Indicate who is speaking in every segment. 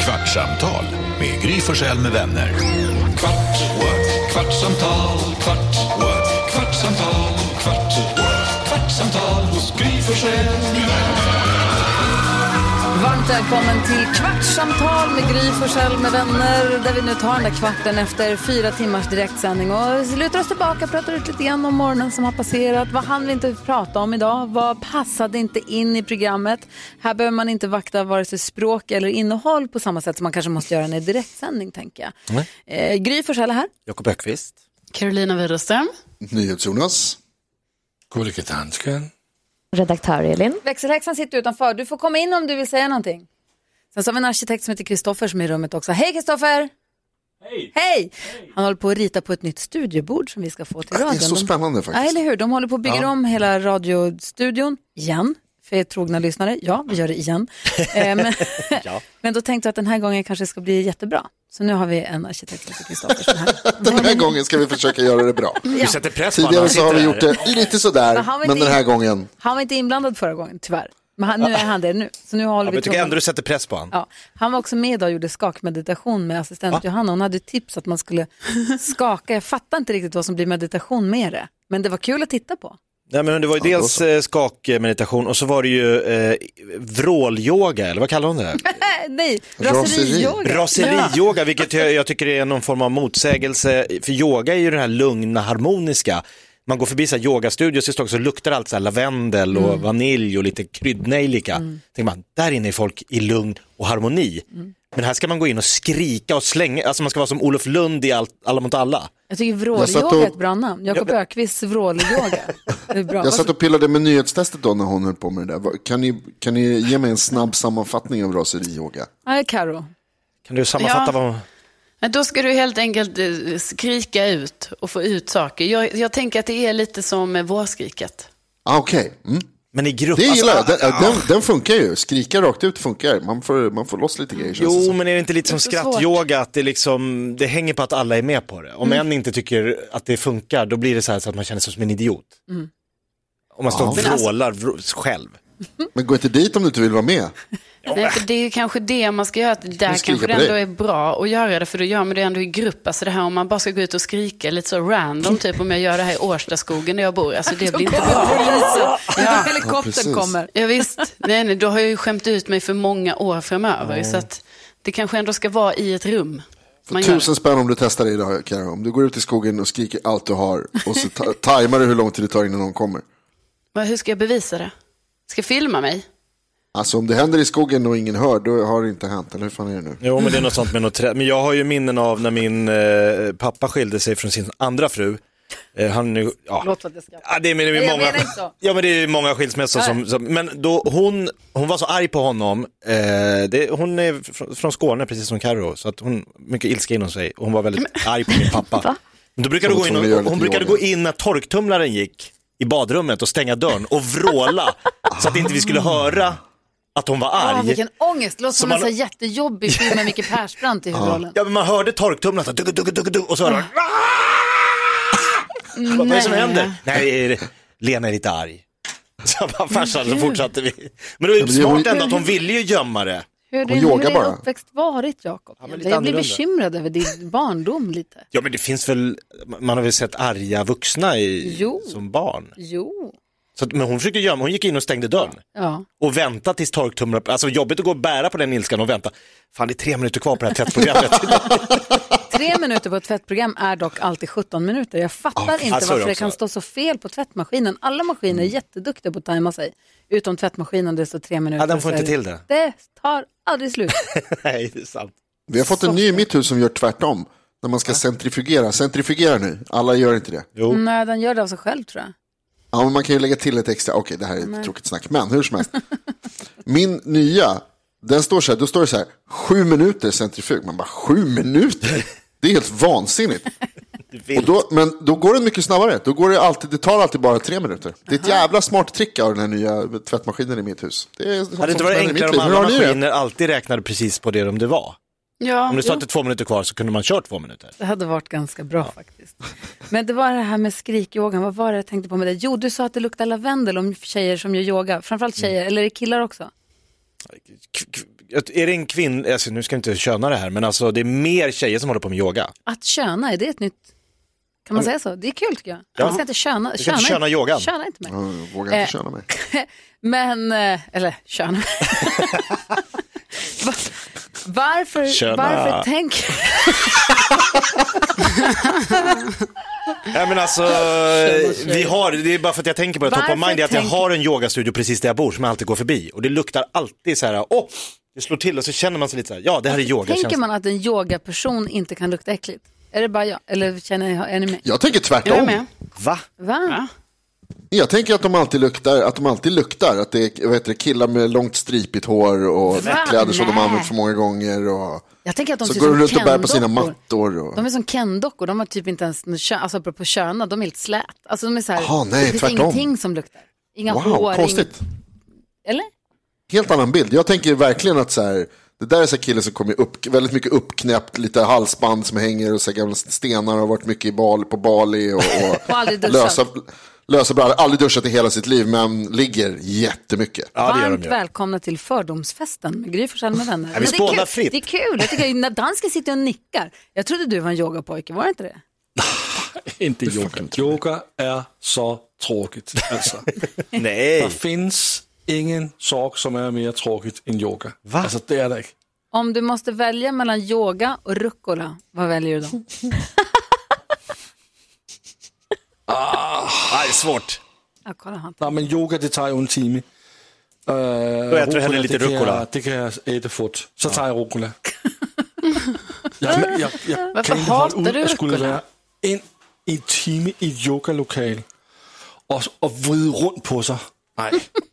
Speaker 1: Kvartsamtal med Gry Forssell med vänner. Kvart, what? kvartsamtal, kvart, what? kvartsamtal, kvart, what? kvartsamtal hos Gry Forssell med vänner.
Speaker 2: Varmt välkommen till Kvartsamtal med Gry Forssell med vänner där vi nu tar den där kvarten efter fyra timmars direktsändning och lutar oss tillbaka pratar ut lite grann om morgonen som har passerat. Vad hann vi inte prata om idag? Vad passade inte in i programmet? Här behöver man inte vakta vare sig språk eller innehåll på samma sätt som man kanske måste göra när det är direktsändning tänker jag. Eh, Gry Forssell är här.
Speaker 3: Jakob Ökvist.
Speaker 4: Carolina Widerström.
Speaker 5: NyhetsJonas.
Speaker 6: Gullige dansken.
Speaker 7: Redaktör Elin.
Speaker 2: Växelhäxan sitter utanför. Du får komma in om du vill säga någonting. Sen så har vi en arkitekt som heter Kristoffer som är i rummet också. Hej Kristoffer! Hej! Hej! Han håller på att rita på ett nytt studiobord som vi ska få till
Speaker 5: Det
Speaker 2: radion.
Speaker 5: är så
Speaker 2: De-
Speaker 5: spännande
Speaker 2: Ja, eller
Speaker 5: faktiskt.
Speaker 2: hur? De håller på att bygga om hela radiostudion igen. För er trogna lyssnare, ja, vi gör det igen. Eh, men, men då tänkte jag att den här gången kanske ska bli jättebra. Så nu har vi en arkitekt som heter Kristoffer som är här.
Speaker 5: Den här gången ska vi försöka göra det bra.
Speaker 3: Vi sätter press på
Speaker 5: Tidigare
Speaker 3: honom.
Speaker 5: så har vi gjort det lite
Speaker 2: Men han
Speaker 5: sådär,
Speaker 2: var
Speaker 5: men
Speaker 2: inte
Speaker 5: den här gången.
Speaker 2: Han var inte inblandad förra gången, tyvärr. Men han, nu är han det nu. Så nu håller
Speaker 3: Ja, men
Speaker 2: vi
Speaker 3: jag tycker
Speaker 2: tummarna.
Speaker 3: ändå du sätter press på honom.
Speaker 2: Ja, han var också med idag och gjorde skakmeditation med assistent Johanna. Hon hade tips att man skulle skaka. Jag fattar inte riktigt vad som blir meditation med det. Men det var kul att titta på.
Speaker 3: Nej, men det var ju dels eh, skakmeditation och så var det ju eh, vrålyoga, eller vad kallar hon det?
Speaker 2: Äh, nej,
Speaker 5: Raseri.
Speaker 2: raseriyoga.
Speaker 3: Raseriyoga, vilket jag, jag tycker är någon form av motsägelse, för yoga är ju den här lugna, harmoniska. Man går förbi så här yogastudios i Stockholm så luktar allt så här lavendel och vanilj och lite kryddnejlika. Tänker man, där inne är folk i lugn och harmoni. Men här ska man gå in och skrika och slänga, alltså man ska vara som Olof Lund i allt, Alla mot alla.
Speaker 2: Jag tycker
Speaker 5: Jag satt
Speaker 2: vrålyoga
Speaker 5: och-
Speaker 2: är ett bra namn. Jakob Ökvists vrålyoga. Det är bra.
Speaker 5: Jag satt och pillade med nyhetstestet då när hon höll på med det där. Vad- Kan ni, kan ni ge mig en snabb sammanfattning av raseriyoga?
Speaker 2: Nej, Karo.
Speaker 3: Kan du sammanfatta
Speaker 4: Ja.
Speaker 3: vad...
Speaker 4: Men Då ska du helt enkelt eh, skrika ut och få ut saker. Jag, jag tänker att det är lite som eh, vårskriket.
Speaker 5: Ah, Okej, mm.
Speaker 3: Men i grupp,
Speaker 5: det
Speaker 3: alltså,
Speaker 5: gillar jag. Den, äh, den, den funkar ju. Skrika rakt ut funkar. Man får, man får loss lite grejer känns det
Speaker 3: Jo,
Speaker 5: som.
Speaker 3: men är det inte lite som
Speaker 4: så svårt.
Speaker 3: skrattyoga, att det, liksom, det hänger på att alla är med på det. Om
Speaker 4: Mm.
Speaker 3: en inte tycker att det funkar, då blir det så här så att man känner sig som en idiot. Om man står och
Speaker 4: Mm. Men alltså-
Speaker 3: vrålar vrå- själv.
Speaker 5: Men gå inte dit om du inte vill vara med.
Speaker 4: Nej, för det är ju kanske det man ska göra. att Där
Speaker 5: skrika
Speaker 4: kanske det
Speaker 5: på
Speaker 4: ändå
Speaker 5: dig.
Speaker 4: är bra att göra det, för då gör man det ändå i grupp. Alltså det här om man bara ska gå ut och skrika lite så random, typ om jag gör det här i Årstaskogen där jag bor. Alltså det blir inte bra.
Speaker 2: Polisen. Helikoptern
Speaker 5: precis.
Speaker 2: kommer.
Speaker 4: Ja, visst. Nej, nej, då har jag ju skämt ut mig för många år framöver. Så att det kanske ändå ska vara i ett rum.
Speaker 5: För
Speaker 4: man gör det.
Speaker 5: tusen spänn om du testar det idag, Karo. Om du går ut i skogen och skriker allt du har och så ta- tajmar du hur lång tid det tar innan någon kommer.
Speaker 4: Vad- Hur ska jag bevisa det? Ska jag filma mig?
Speaker 5: Alltså om det händer i skogen och ingen hör, då har det inte hänt. Eller hur fan är det nu?
Speaker 3: Jo, men det är något sånt med något trä. Men jag har ju minnen av när min eh, pappa skilde sig från sin andra fru. Eh, han nu, ja.
Speaker 2: Förlåt för att jag skrattar.
Speaker 3: Ja, det är, men det
Speaker 2: Nej,
Speaker 3: är
Speaker 2: jag
Speaker 3: många,
Speaker 2: menar inte så.
Speaker 3: ja, men det är många skilsmässor som, som, men då hon, hon var så arg på honom, eh, det, hon är fr- från Skåne precis som Carro, så att hon, mycket ilska inom sig, och hon var väldigt arg på min pappa. Men Då brukade
Speaker 5: Hon
Speaker 3: gå in
Speaker 5: tror vi gör
Speaker 3: och,
Speaker 5: lite
Speaker 3: hon brukade
Speaker 5: yoga.
Speaker 3: gå in när torktumlaren gick i badrummet och stänga dörren och vråla så att inte vi skulle höra att hon var
Speaker 2: Ah,
Speaker 3: arg.
Speaker 2: vilken ångest. Låter som
Speaker 3: man-
Speaker 2: en så här jättejobbig film med Micke Persbrandt i huvudrollen.
Speaker 3: Ja, men man hörde torktumlaren, så här, dugg, dugg, dugg, dugg, och så hörde man, "Aah!" vad är det som
Speaker 4: Nej.
Speaker 3: händer? Nej, det- Lena är lite arg. Så bara farsan, så fortsatte vi. Men det var ju
Speaker 5: men det var ju-
Speaker 3: smart ändå att hon ville ju gömma det.
Speaker 2: Hur har
Speaker 5: Hon
Speaker 2: din, hur
Speaker 5: yogar
Speaker 2: har din
Speaker 5: bara.
Speaker 2: uppväxt varit, Jakob?
Speaker 3: men lite
Speaker 2: jag blir
Speaker 3: annorlunda.
Speaker 2: bekymrad över din barndom lite.
Speaker 3: Ja, men det finns väl, man har väl sett arga vuxna i,
Speaker 2: Jo.
Speaker 3: som barn.
Speaker 2: Jo.
Speaker 3: Så, att- men hon försökte gömma, hon gick in och stängde dörren.
Speaker 2: Ja.
Speaker 3: Och vänta tills torktumlaren, alltså jobbigt att gå och bära på den ilskan och vänta. Fan, det är tre minuter kvar på det här testprogrammet.
Speaker 2: Tre minuter på ett tvättprogram är dock alltid 17 minuter. Jag fattar inte
Speaker 3: alltså,
Speaker 2: varför det
Speaker 3: det också. Mm.
Speaker 2: kan stå så fel på tvättmaskinen. Alla maskiner är jätteduktiga på att tajma sig. Utom tvättmaskinen, det står tre minuter.
Speaker 3: Ja, den får
Speaker 2: så
Speaker 3: inte
Speaker 2: är
Speaker 3: till det.
Speaker 2: Det tar aldrig slut.
Speaker 3: Nej, det är sant.
Speaker 5: Vi har fått en ny i mitt hus som gör tvärtom. När man ska centrifugera. Centrifugera nu. Alla gör inte det.
Speaker 3: Jo.
Speaker 2: Nej, den gör det av sig själv tror jag.
Speaker 5: Ja, men man kan ju lägga till ett extra. Okej, det här är ett tråkigt snack. Men hur som helst. Min nya, den står så här. Då står det så här. Sju minuter centrifug. Man bara, sju minuter? Det är helt vansinnigt. Och då, men då går den mycket snabbare. Då går det, alltid, det tar alltid bara tre minuter. Det är ett jävla smart trick av den här nya tvättmaskinen i mitt hus. Det är sånt
Speaker 3: Hade det inte
Speaker 5: som
Speaker 3: varit
Speaker 5: händer i
Speaker 3: enklare
Speaker 5: mitt
Speaker 3: om alla
Speaker 5: liv. Hur har ni det?
Speaker 3: maskiner alltid räknade precis på det om det var?
Speaker 4: Ja,
Speaker 5: Mm.
Speaker 3: Om det stod
Speaker 4: jo.
Speaker 3: att det är två minuter kvar så kunde man kört två minuter.
Speaker 2: Det hade varit ganska bra faktiskt. Men det var det här med skrikyogan, vad var det jag tänkte på med det? Jo, du sa att det
Speaker 3: Mm.
Speaker 2: luktar lavendel om tjejer som gör yoga, framförallt tjejer, eller är det killar också?
Speaker 3: K- k- att- är det en kvinna, alltså, nu ska jag inte köna det här, men alltså det är mer tjejer som håller på med yoga.
Speaker 2: Att köna, är det ett nytt... Kan man säga så? Det är kul tycker jag.
Speaker 3: Ja.
Speaker 2: Man ska inte köna.
Speaker 3: ska inte köna yogan. Mm.
Speaker 2: Köna inte mig.
Speaker 5: Jag vågar
Speaker 2: Eh.
Speaker 5: inte köna mig.
Speaker 2: Men, eh, eller köna mig. Va- varför,
Speaker 3: Köna.
Speaker 5: Ah,
Speaker 2: varför tänker...
Speaker 3: Nej men alltså, vi har, det är bara för att jag tänker på det, top of
Speaker 2: Varför
Speaker 3: mind är att jag
Speaker 2: tänker-
Speaker 3: har en yogastudio precis där jag bor som jag alltid går förbi. Och det luktar alltid så här, åh, det slår till och så känner man sig lite så här, ja det här är yoga.
Speaker 2: Tänker man att en yogaperson inte kan lukta äckligt? Är det bara jag? Eller känner jag, är ni med?
Speaker 5: Jag tänker
Speaker 4: Jag är
Speaker 5: tvärtom.
Speaker 4: med.
Speaker 3: Va?
Speaker 2: Va?
Speaker 4: Ja.
Speaker 5: Jag tänker att de alltid luktar, att de alltid luktar. Att det är vad heter det, killar med långt stripigt hår och kläder som de
Speaker 2: Nej.
Speaker 5: använt för många gånger. Och...
Speaker 2: Jag tänker att de
Speaker 5: Så
Speaker 2: ser
Speaker 5: går de
Speaker 2: som
Speaker 5: runt och bär på
Speaker 2: Ken-dockor.
Speaker 5: sina mattor. Och...
Speaker 2: De är som Ken-dockor, de har typ inte ens, något kön, alltså apropå köna, de är helt slät. Alltså de är så här,
Speaker 5: Jaha, nej,
Speaker 2: det finns
Speaker 5: tvärtom.
Speaker 2: ingenting som luktar. Inga hår,
Speaker 5: Wow, konstigt.
Speaker 2: Inget, eller?
Speaker 5: Helt annan bild. Jag tänker verkligen att så här, det där är så här killen som kommer upp, väldigt mycket uppknäppt, lite halsband som hänger och så här gamla stenar har varit mycket i Bali, på Bali och,
Speaker 2: Och aldrig duschat.
Speaker 5: lösa, lösa brallor. Aldrig duschat i hela sitt liv men ligger jättemycket.
Speaker 3: Ja det gör
Speaker 2: Varmt
Speaker 3: de ju.
Speaker 2: välkomna till fördomsfesten med Gry Forssell med vänner.
Speaker 3: vi
Speaker 2: Men det, är
Speaker 3: spånar
Speaker 2: kul.
Speaker 3: fritt.
Speaker 2: det är kul, jag tycker när dansken sitter och nickar. Jag trodde du var en yogapojke, var det inte det?
Speaker 6: Inte yoga. Yoga är så tråkigt. Alltså.
Speaker 3: Nej.
Speaker 6: Det finns ingen sak som är mer tråkigt än yoga. Va? Alltså, det är det inte.
Speaker 2: Om du måste välja mellan yoga och rucola, vad väljer du då?
Speaker 3: Ah, det är svårt.
Speaker 2: Ja, kolla han.
Speaker 6: Nej, men yoga det tar ju en timme. Uh,
Speaker 3: Då äter du hellre lite
Speaker 6: det kan jag-
Speaker 3: rucola.
Speaker 6: Det kan jag äta fort. Så tar jag rucola. jag, jag, jag, jag
Speaker 4: Varför
Speaker 6: kan inte hålla
Speaker 4: hatar
Speaker 6: ut
Speaker 4: du
Speaker 6: att skulle
Speaker 4: rucola?
Speaker 6: vara en i timme i ett yogalokal och, och vrida runt på sig. Nej,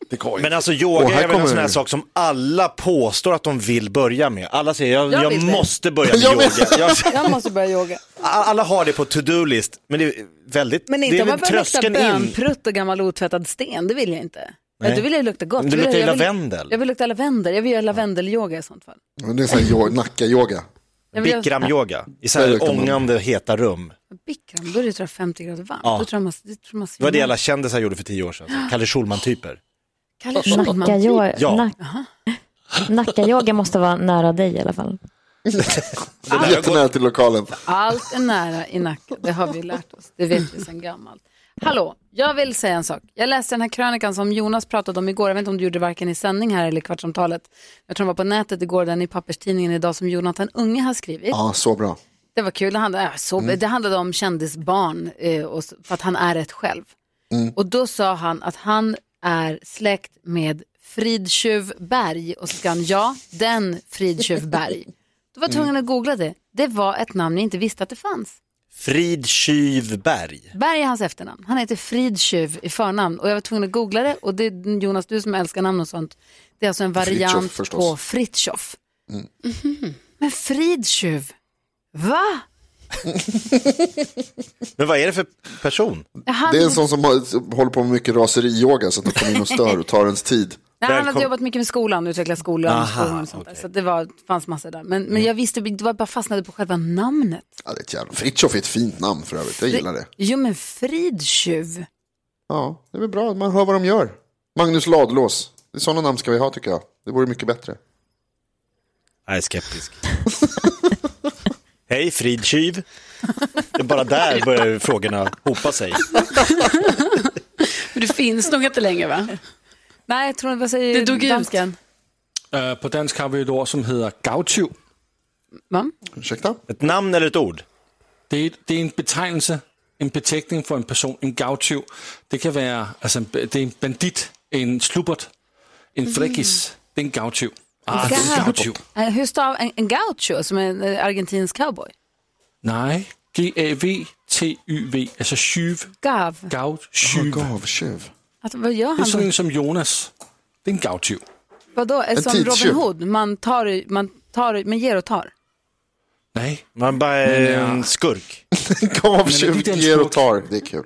Speaker 6: det går inte.
Speaker 3: Men alltså yoga
Speaker 5: Och här
Speaker 3: är väl en
Speaker 5: kommer-
Speaker 3: sån här sak som alla påstår att de vill börja med. Alla säger jag,
Speaker 2: Jag
Speaker 3: jag,
Speaker 2: vill det."
Speaker 3: måste börja med
Speaker 5: Jag
Speaker 3: yoga.
Speaker 5: vill-
Speaker 3: Jag,
Speaker 2: Jag måste börja yoga.
Speaker 3: alla har det på to-do-list, men det är väldigt,
Speaker 2: Men
Speaker 3: det
Speaker 2: inte
Speaker 3: är
Speaker 2: om man
Speaker 3: väl
Speaker 2: börjar lukta
Speaker 3: tröskeln in.
Speaker 2: bönprutt och gammal otvättad sten, det vill jag inte.
Speaker 3: Nej.
Speaker 2: Ja, du vill ju lukta gott.
Speaker 3: Men det
Speaker 2: Jag vill-
Speaker 3: luktar ju
Speaker 2: jag vill-
Speaker 3: lavendel.
Speaker 2: Jag vill lukta lavendel, jag vill göra lavendelyoga i sånt fall.
Speaker 5: Men Det är så här yo- nacka-yoga.
Speaker 2: Jag vill göra-
Speaker 3: Bikram-yoga, i så
Speaker 5: Där
Speaker 3: här
Speaker 5: luktar man.
Speaker 3: ångande heta rum.
Speaker 2: Bikram, då är det tror jag 50 grader varmt.
Speaker 3: Ja.
Speaker 2: Då tror jag man, det tror jag man
Speaker 3: Det var det
Speaker 2: svimmar.
Speaker 3: alla kändisar gjorde för tio år sedan. så Kalle Schulman-typer.
Speaker 2: Kalle Schulman.
Speaker 7: Nacka, yoga,
Speaker 3: Ja.
Speaker 7: nack, nacka yoga måste vara nära dig i alla fall.
Speaker 5: Jättenära till lokalen.
Speaker 2: Allt är nära i Nacka, det har vi lärt oss. Det vet vi sedan gammalt. Hallå, jag vill säga en sak. Jag läste den här krönikan som Jonas pratade om igår. Jag vet inte om du gjorde det varken i sändning här eller i kvartsamtalet. Jag tror den var på nätet igår, den i papperstidningen idag som Jonathan Unge har skrivit.
Speaker 5: Ja, så bra.
Speaker 2: Det var kul, det handlade, äh, så, det handlade om kändisbarn eh, och, s- för att han är ett själv. Och då sa han att han är släkt med Fridtjuv Berg och så ska han, ja, den Fridtjuv Berg. Då var jag tvungen att googla det. Det var ett namn jag inte visste att det fanns.
Speaker 3: Frid Kyvberg.
Speaker 2: Berg är hans efternamn. Han heter Fridtjuv i förnamn och jag var tvungen att googla det och det är Jonas, du som älskar namn och sånt. Det är alltså en variant
Speaker 5: Fritjof, förstås.
Speaker 2: på Fritjof.
Speaker 3: Mm.
Speaker 2: Mhm. Men Fridtjuv, va?
Speaker 3: Men vad är det för person?
Speaker 2: Ja, Han,
Speaker 5: Det är en sån som har- håller på med mycket raseri-yoga så att de kommer in och stör och tar ens tid.
Speaker 2: Nej, han hade
Speaker 3: Välkom-
Speaker 2: jobbat mycket med skolan, utvecklat skolan och
Speaker 3: Aha,
Speaker 2: skolan och sånt där.
Speaker 3: okej. Mm.
Speaker 2: Så det var, fanns massor där. Men, men jag visste, det var bara fastnade på själva namnet.
Speaker 5: Ja, det är ett jävla... Fritiof är ett fint namn för övrigt, jag gillar det.
Speaker 2: Jo men Fridtjuv.
Speaker 5: Ja, det är väl bra. Man hör vad de gör. Magnus Ladlås. Det är sådana namn ska vi ha tycker jag. Det vore mycket bättre.
Speaker 3: Jag är skeptisk. Hej, Frid Kyv. Det är bara där börjar ju frågorna hopa sig.
Speaker 4: Men det finns nog inte längre va?
Speaker 2: Nej, jag tror, vad säger
Speaker 4: Det dog ut.
Speaker 2: Eh, dansken?
Speaker 6: Øh, på dansk har vi et ord, som hedder gavtiv.
Speaker 2: Mam?
Speaker 5: Ursäkta?
Speaker 3: Ett namn eller ett ord?
Speaker 6: Det er, det er en betegnelse, en betegning for en person, en gavtiv. Det kan være, altså en- det er en bandit, en slubbert, en frækis. Det er en gavtiv. Ah, det er en gavtiv.
Speaker 2: Eh, Hur stav, en, en gaucho som är en eh, argentinsk cowboy?
Speaker 6: Nej, G-A-V-T-Y-V, altså syv,
Speaker 2: Gav.
Speaker 5: Oh
Speaker 6: gavtiv.
Speaker 5: Gavtjuv.
Speaker 2: Att, Alltså, vad gör
Speaker 6: Det er
Speaker 2: han
Speaker 6: sådan
Speaker 2: då?
Speaker 6: en som Jonas. Det er en gavtiv.
Speaker 2: Vadå, är det som
Speaker 5: tidstjuv.
Speaker 2: Robin Hood? Man tar, man tar, man ger och tar.
Speaker 6: Nej,
Speaker 3: Man bara är en skurk.
Speaker 5: Gavtjuv
Speaker 6: Men det är inte
Speaker 5: ger
Speaker 6: ens
Speaker 5: och tar. Det är kul.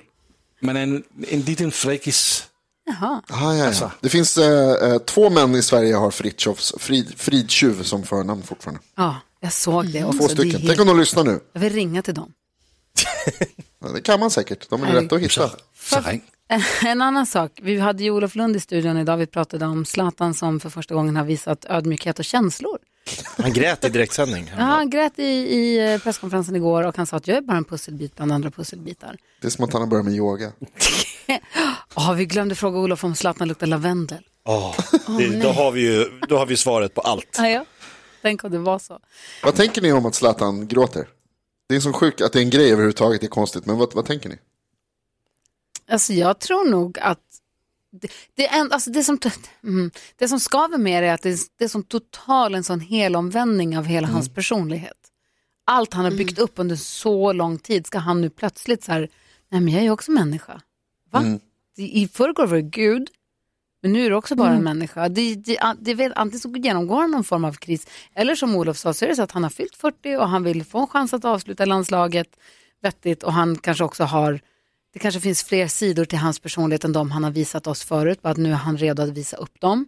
Speaker 6: man er en, en liten frækis.
Speaker 2: Jaha.
Speaker 5: Ah, ja, ja. Det finns eh, eh, två män i Sverige har Fritjofs, frid, Fridtjuv som förnamn fortfarande.
Speaker 2: Ja, jag såg det också.
Speaker 5: Två
Speaker 2: Alltså, Det är
Speaker 5: stycken. Tänk
Speaker 2: helt...
Speaker 5: om de lyssnar nu.
Speaker 2: Jag vill ringa till dem.
Speaker 5: Ja, Det kan man säkert. De är
Speaker 2: Nej.
Speaker 5: rätt att hitta.
Speaker 6: Så ring.
Speaker 2: En annan sak, vi hade ju Olof Lund i studion idag, vi pratade om Zlatan som för första gången har visat ödmjukhet och känslor.
Speaker 3: Han grät i direktsändning.
Speaker 2: Ja, han grät i, i eh, presskonferensen igår och han sa att jag är bara en pusselbit bland andra pusselbitar.
Speaker 5: Det är som att han har börjat med yoga.
Speaker 2: Ja, vi glömde fråga Olof om Zlatan luktar lavendel.
Speaker 3: Åh, det, då, har vi ju, då har vi svaret på allt.
Speaker 2: Ja, ja. Tänk om det var så.
Speaker 5: Vad tänker ni om att Zlatan gråter? Det är så sjukt att det är en grej överhuvudtaget, det är konstigt. Men vad, vad tänker ni?
Speaker 2: Alltså jag tror nog att det, det, är en, alltså det, som, mm, det som skaver med det är att det, är- det är som total en sån helomvändning av hela hans personlighet. Allt han har byggt upp under så lång tid ska han nu plötsligt så här, nej men jag är ju också människa. Va? I i förrgår var det Gud, men nu är det också bara en människa. Det, det, det vet, antingen så genomgår han någon form av kris, eller som Olof sa så är det så att han har fyllt 40 och han vill få en chans att avsluta landslaget vettigt och han kanske också har, det kanske finns fler sidor till hans personlighet än de han har visat oss förut, bara att nu är han redo att visa upp dem.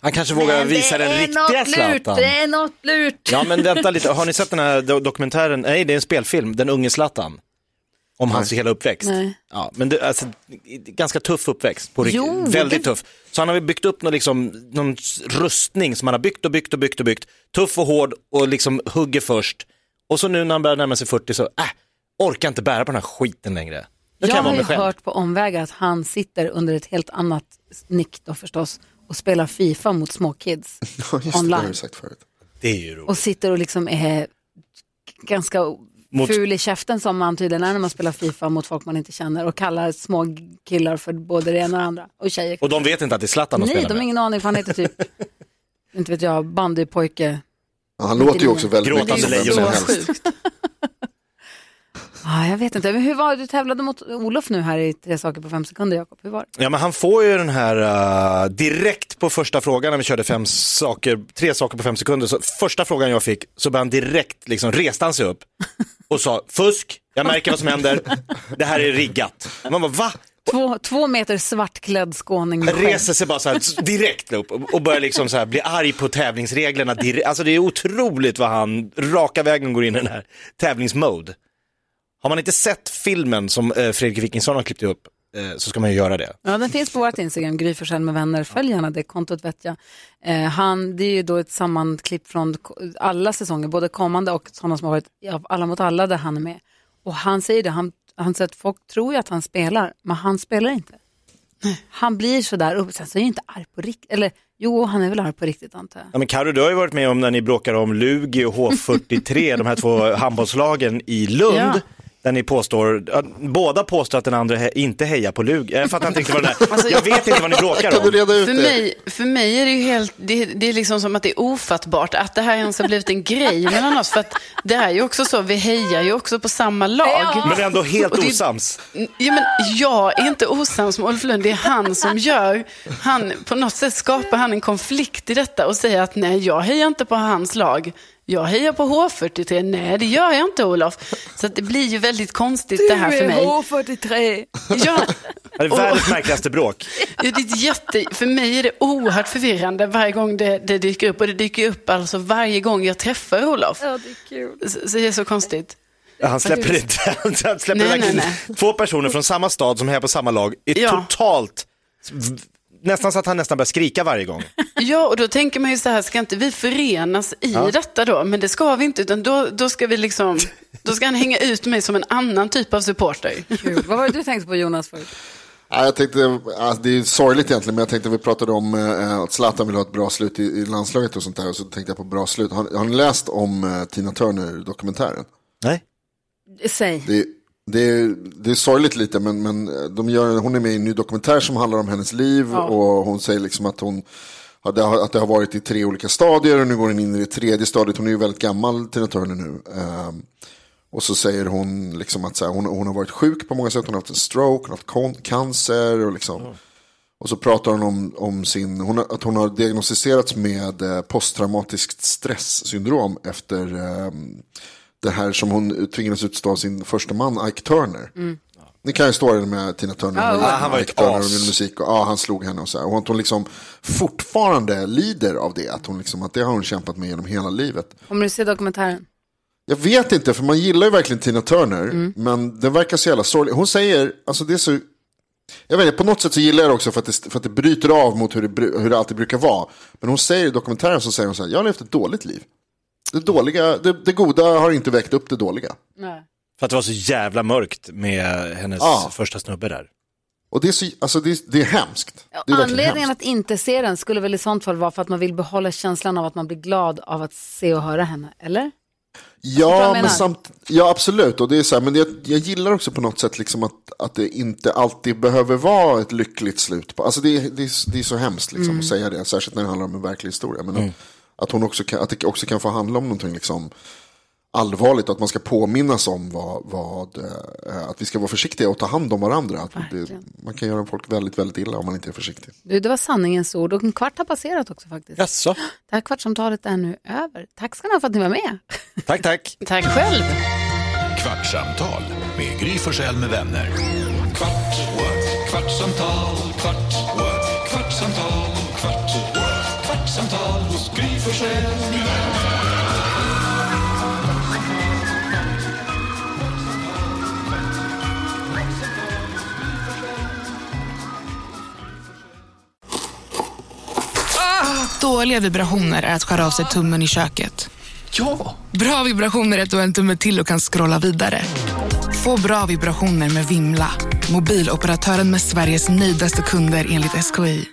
Speaker 3: Han kanske vågar visa den riktiga
Speaker 2: lurt,
Speaker 3: Zlatan.
Speaker 2: det är något lurt.
Speaker 3: Ja men vänta lite, har ni sett den här do- dokumentären? Nej det är en spelfilm, Den unge Zlatan. Om hans hela uppväxt.
Speaker 2: Nej.
Speaker 3: Ja, men det, alltså, ganska tuff uppväxt, på riktigt.
Speaker 2: Jo,
Speaker 3: väldigt
Speaker 2: det-
Speaker 3: tuff. Så han har väl byggt upp någon, liksom, någon rustning som han har byggt och byggt och byggt och byggt. Tuff och hård och liksom hugger först. Och så nu när han börjar närma sig 40 så, äh, orkar inte bära på den här skiten längre. Nu kan
Speaker 2: Jag
Speaker 3: jag
Speaker 2: har
Speaker 3: vara
Speaker 2: ju
Speaker 3: mig själv.
Speaker 2: hört på omvägar att han sitter under ett helt annat nick då förstås och spelar Fifa mot småkids
Speaker 5: Ja, just det, det har
Speaker 2: online.
Speaker 5: du sagt förut.
Speaker 3: Det är ju roligt.
Speaker 2: och sitter och liksom är ganska
Speaker 3: Mot-
Speaker 2: ful i käften som man tydligen är när man spelar Fifa mot folk man inte känner och kallar små killar för både det ena och det andra och tjejer.
Speaker 3: Och de vet inte att det är Zlatan de
Speaker 2: Nej,
Speaker 3: spelar
Speaker 2: de har
Speaker 3: med.
Speaker 2: ingen aning för han heter typ, inte vet jag, bandypojke.
Speaker 5: Ja, han låter ju också väldigt mycket
Speaker 3: Gråtande
Speaker 5: som vem
Speaker 3: lejon.
Speaker 5: som
Speaker 4: Så
Speaker 5: helst.
Speaker 4: sjukt.
Speaker 2: Ah, jag vet inte, men hur var det? Du tävlade mot Olof nu här i Tre saker på fem sekunder, Jakob. Hur var det?
Speaker 3: Ja men han får ju den här eh, direkt på första frågan när vi körde fem saker, tre saker på fem sekunder. Så första frågan jag fick så började han direkt, liksom reste han sig upp och sa fusk, jag märker vad som händer, det här är riggat. Man bara va?
Speaker 2: Två, två meter svartklädd skåning med skägg.
Speaker 3: Reser sig bara så här direkt upp och börjar liksom så här bli arg på tävlingsreglerna. direkt. Alltså det är otroligt vad han raka vägen går in i den här tävlingsmode. Har man inte sett filmen som eh, Fredrik Wikingsson har klippt ihop eh, så ska man ju göra det.
Speaker 2: Ja, den finns på vårt Instagram, Gry Forssell med vänner. Följ gärna det kontot vet jag. Eh, han, det är ju då ett sammanklipp från k- alla säsonger, både kommande och sådana som har varit i av Alla mot alla där han är med. Och han säger det, han, han säger att folk tror ju att han spelar, men han spelar inte. Han blir sådär, och sen så är han ju inte arg på riktigt, eller jo, han är väl arg på riktigt antar jag.
Speaker 3: Ja, men Karo, du har ju varit med om när ni bråkar om Lugi och H43, de här två handbollslagen i Lund.
Speaker 4: Ja.
Speaker 3: Där ni påstår, ja, båda påstår att den andra he, inte hejar på Lugi. Jag fattar inte riktigt vad det där,
Speaker 4: Alltså,
Speaker 3: jag vet inte vad ni bråkar
Speaker 5: Kan du
Speaker 3: om.
Speaker 5: reda ut
Speaker 4: För
Speaker 5: det?
Speaker 4: mig, för mig är det ju helt, det, det är liksom som att det är ofattbart att det här ens har blivit en grej mellan oss. För att det är ju också så, vi hejar ju också på samma lag.
Speaker 3: Men ändå helt
Speaker 4: Och det-
Speaker 3: osams.
Speaker 4: Ja, men jag är inte osams med Ulf Lund, det är han som gör, han, på något sätt skapar han en konflikt i detta och säger att nej, jag hejar inte på hans lag. Jag hejar på H43. Nej, det gör jag inte Olof. Så att det blir ju väldigt konstigt det här för mig.
Speaker 2: H43.
Speaker 4: Ja,
Speaker 3: Det är världens märkligaste bråk.
Speaker 4: Ja, det är ett jätte, för mig är det oerhört förvirrande varje gång det, det dyker upp. Och det dyker upp alltså varje gång jag träffar Olof.
Speaker 2: Ja, det är kul.
Speaker 4: Så, så det är så konstigt.
Speaker 3: Han släpper inte, han släpper
Speaker 4: Nej,
Speaker 3: verkligen-
Speaker 4: nej,
Speaker 3: Två personer från samma stad som hejar på samma lag är
Speaker 4: Ja.
Speaker 3: totalt, nästan så att han nästan börjar skrika varje gång.
Speaker 4: Ja, och då tänker man ju så här, ska inte vi förenas i detta då? Men det ska vi inte, utan då, då ska vi liksom, då ska han hänga ut mig som en annan typ av supporter.
Speaker 2: kul. Vad var det du tänkte på Jonas förut?
Speaker 5: Ja, jag tänkte, ja, det är ju sorgligt egentligen, men jag tänkte vi pratade om eh, att Zlatan vill ha ett bra slut i, i landslaget och sånt där. Och så tänkte jag på bra slut. Har, har ni läst om eh, Tina Turner-dokumentären?
Speaker 3: Nej.
Speaker 2: Säg.
Speaker 5: Det, det, är, det är sorgligt lite, men, men eh, de gör, hon är med i en ny dokumentär som handlar om hennes liv och hon säger liksom att hon att det, har, att det har varit i tre olika stadier och nu går hon in i det tredje stadiet. Hon är ju väldigt gammal, Tina Turner, nu. Ehm, och så säger hon liksom att så här, hon, hon har varit sjuk på många sätt. Hon har haft en stroke, hon har haft kon- cancer och liksom. Och så pratar hon om, om sin, hon, har- att hon har diagnostiserats med eh, posttraumatiskt stresssyndrom efter eh, det här som hon tvingades utstå av sin första man, Ike Turner. Ni kan ju storyn med Tina Turner.
Speaker 2: Ja, ja.
Speaker 5: Hon gillar
Speaker 3: Ah, han var
Speaker 5: Ike
Speaker 3: ett
Speaker 5: Turner och
Speaker 3: as.
Speaker 5: gjorde musik och ja, han slog henne och så här. Och att hon liksom fortfarande lider av det. Att, hon liksom, att det har hon kämpat med genom hela livet.
Speaker 2: Kommer du se dokumentären?
Speaker 5: Jag vet inte, för man gillar ju verkligen Tina Turner, men den verkar så jävla sorglig. Hon säger, alltså det är så Jag vet inte, på något sätt så gillar jag det också för att det, för att det bryter av mot hur det, bru- hur det alltid brukar vara. Men hon säger i dokumentären så säger hon så här, jag har levt ett dåligt liv. Det, dåliga, det, det goda har inte väckt upp det dåliga.
Speaker 4: Nej.
Speaker 3: För att det var så jävla mörkt med hennes
Speaker 5: Ja.
Speaker 3: första snubbe där.
Speaker 5: Och det är, så, alltså det, är- det är hemskt. Det är verkligen
Speaker 2: Anledningen
Speaker 5: hemskt.
Speaker 2: att inte se den skulle väl i sånt fall vara för att man vill behålla känslan av att man blir glad av att se och höra henne, eller? vad jag
Speaker 5: Ja,
Speaker 2: menar?
Speaker 5: men samt, ja, absolut. Och det är så här, men jag, jag gillar också på något sätt liksom att, att det inte alltid behöver vara ett lyckligt slut. På. Alltså det, är- det, är- det är så hemskt liksom,
Speaker 2: Mm.
Speaker 5: att säga det, särskilt när det handlar om en verklig historia. Men att, att, hon också kan, att det också kan få handla om någonting liksom, allvarligt, att man ska påminnas om vad, vad, eh, att vi ska vara försiktiga och ta hand om varandra. Att det, man kan göra folk väldigt, väldigt illa om man inte är försiktig.
Speaker 2: Du, det var sanningens ord och en kvart har passerat också faktiskt.
Speaker 3: Jaså?
Speaker 2: Det här kvartsamtalet är nu över. Tack ska ni ha för att ni var med.
Speaker 3: Tack, tack.
Speaker 4: Tack själv.
Speaker 1: Kvartsamtal med Gry Forssell med vänner. Kvart, what? kvartsamtal, kvart, what? kvartsamtal, kvart, what? kvartsamtal hos Gry Forssell med vänner.
Speaker 8: Dåliga vibrationer är att skära av sig tummen i köket.
Speaker 6: Ja!
Speaker 8: Bra vibrationer är att du har en tumme till och kan scrolla vidare. Få bra vibrationer med Vimla. Mobiloperatören med Sveriges nöjdaste kunder enligt SKI.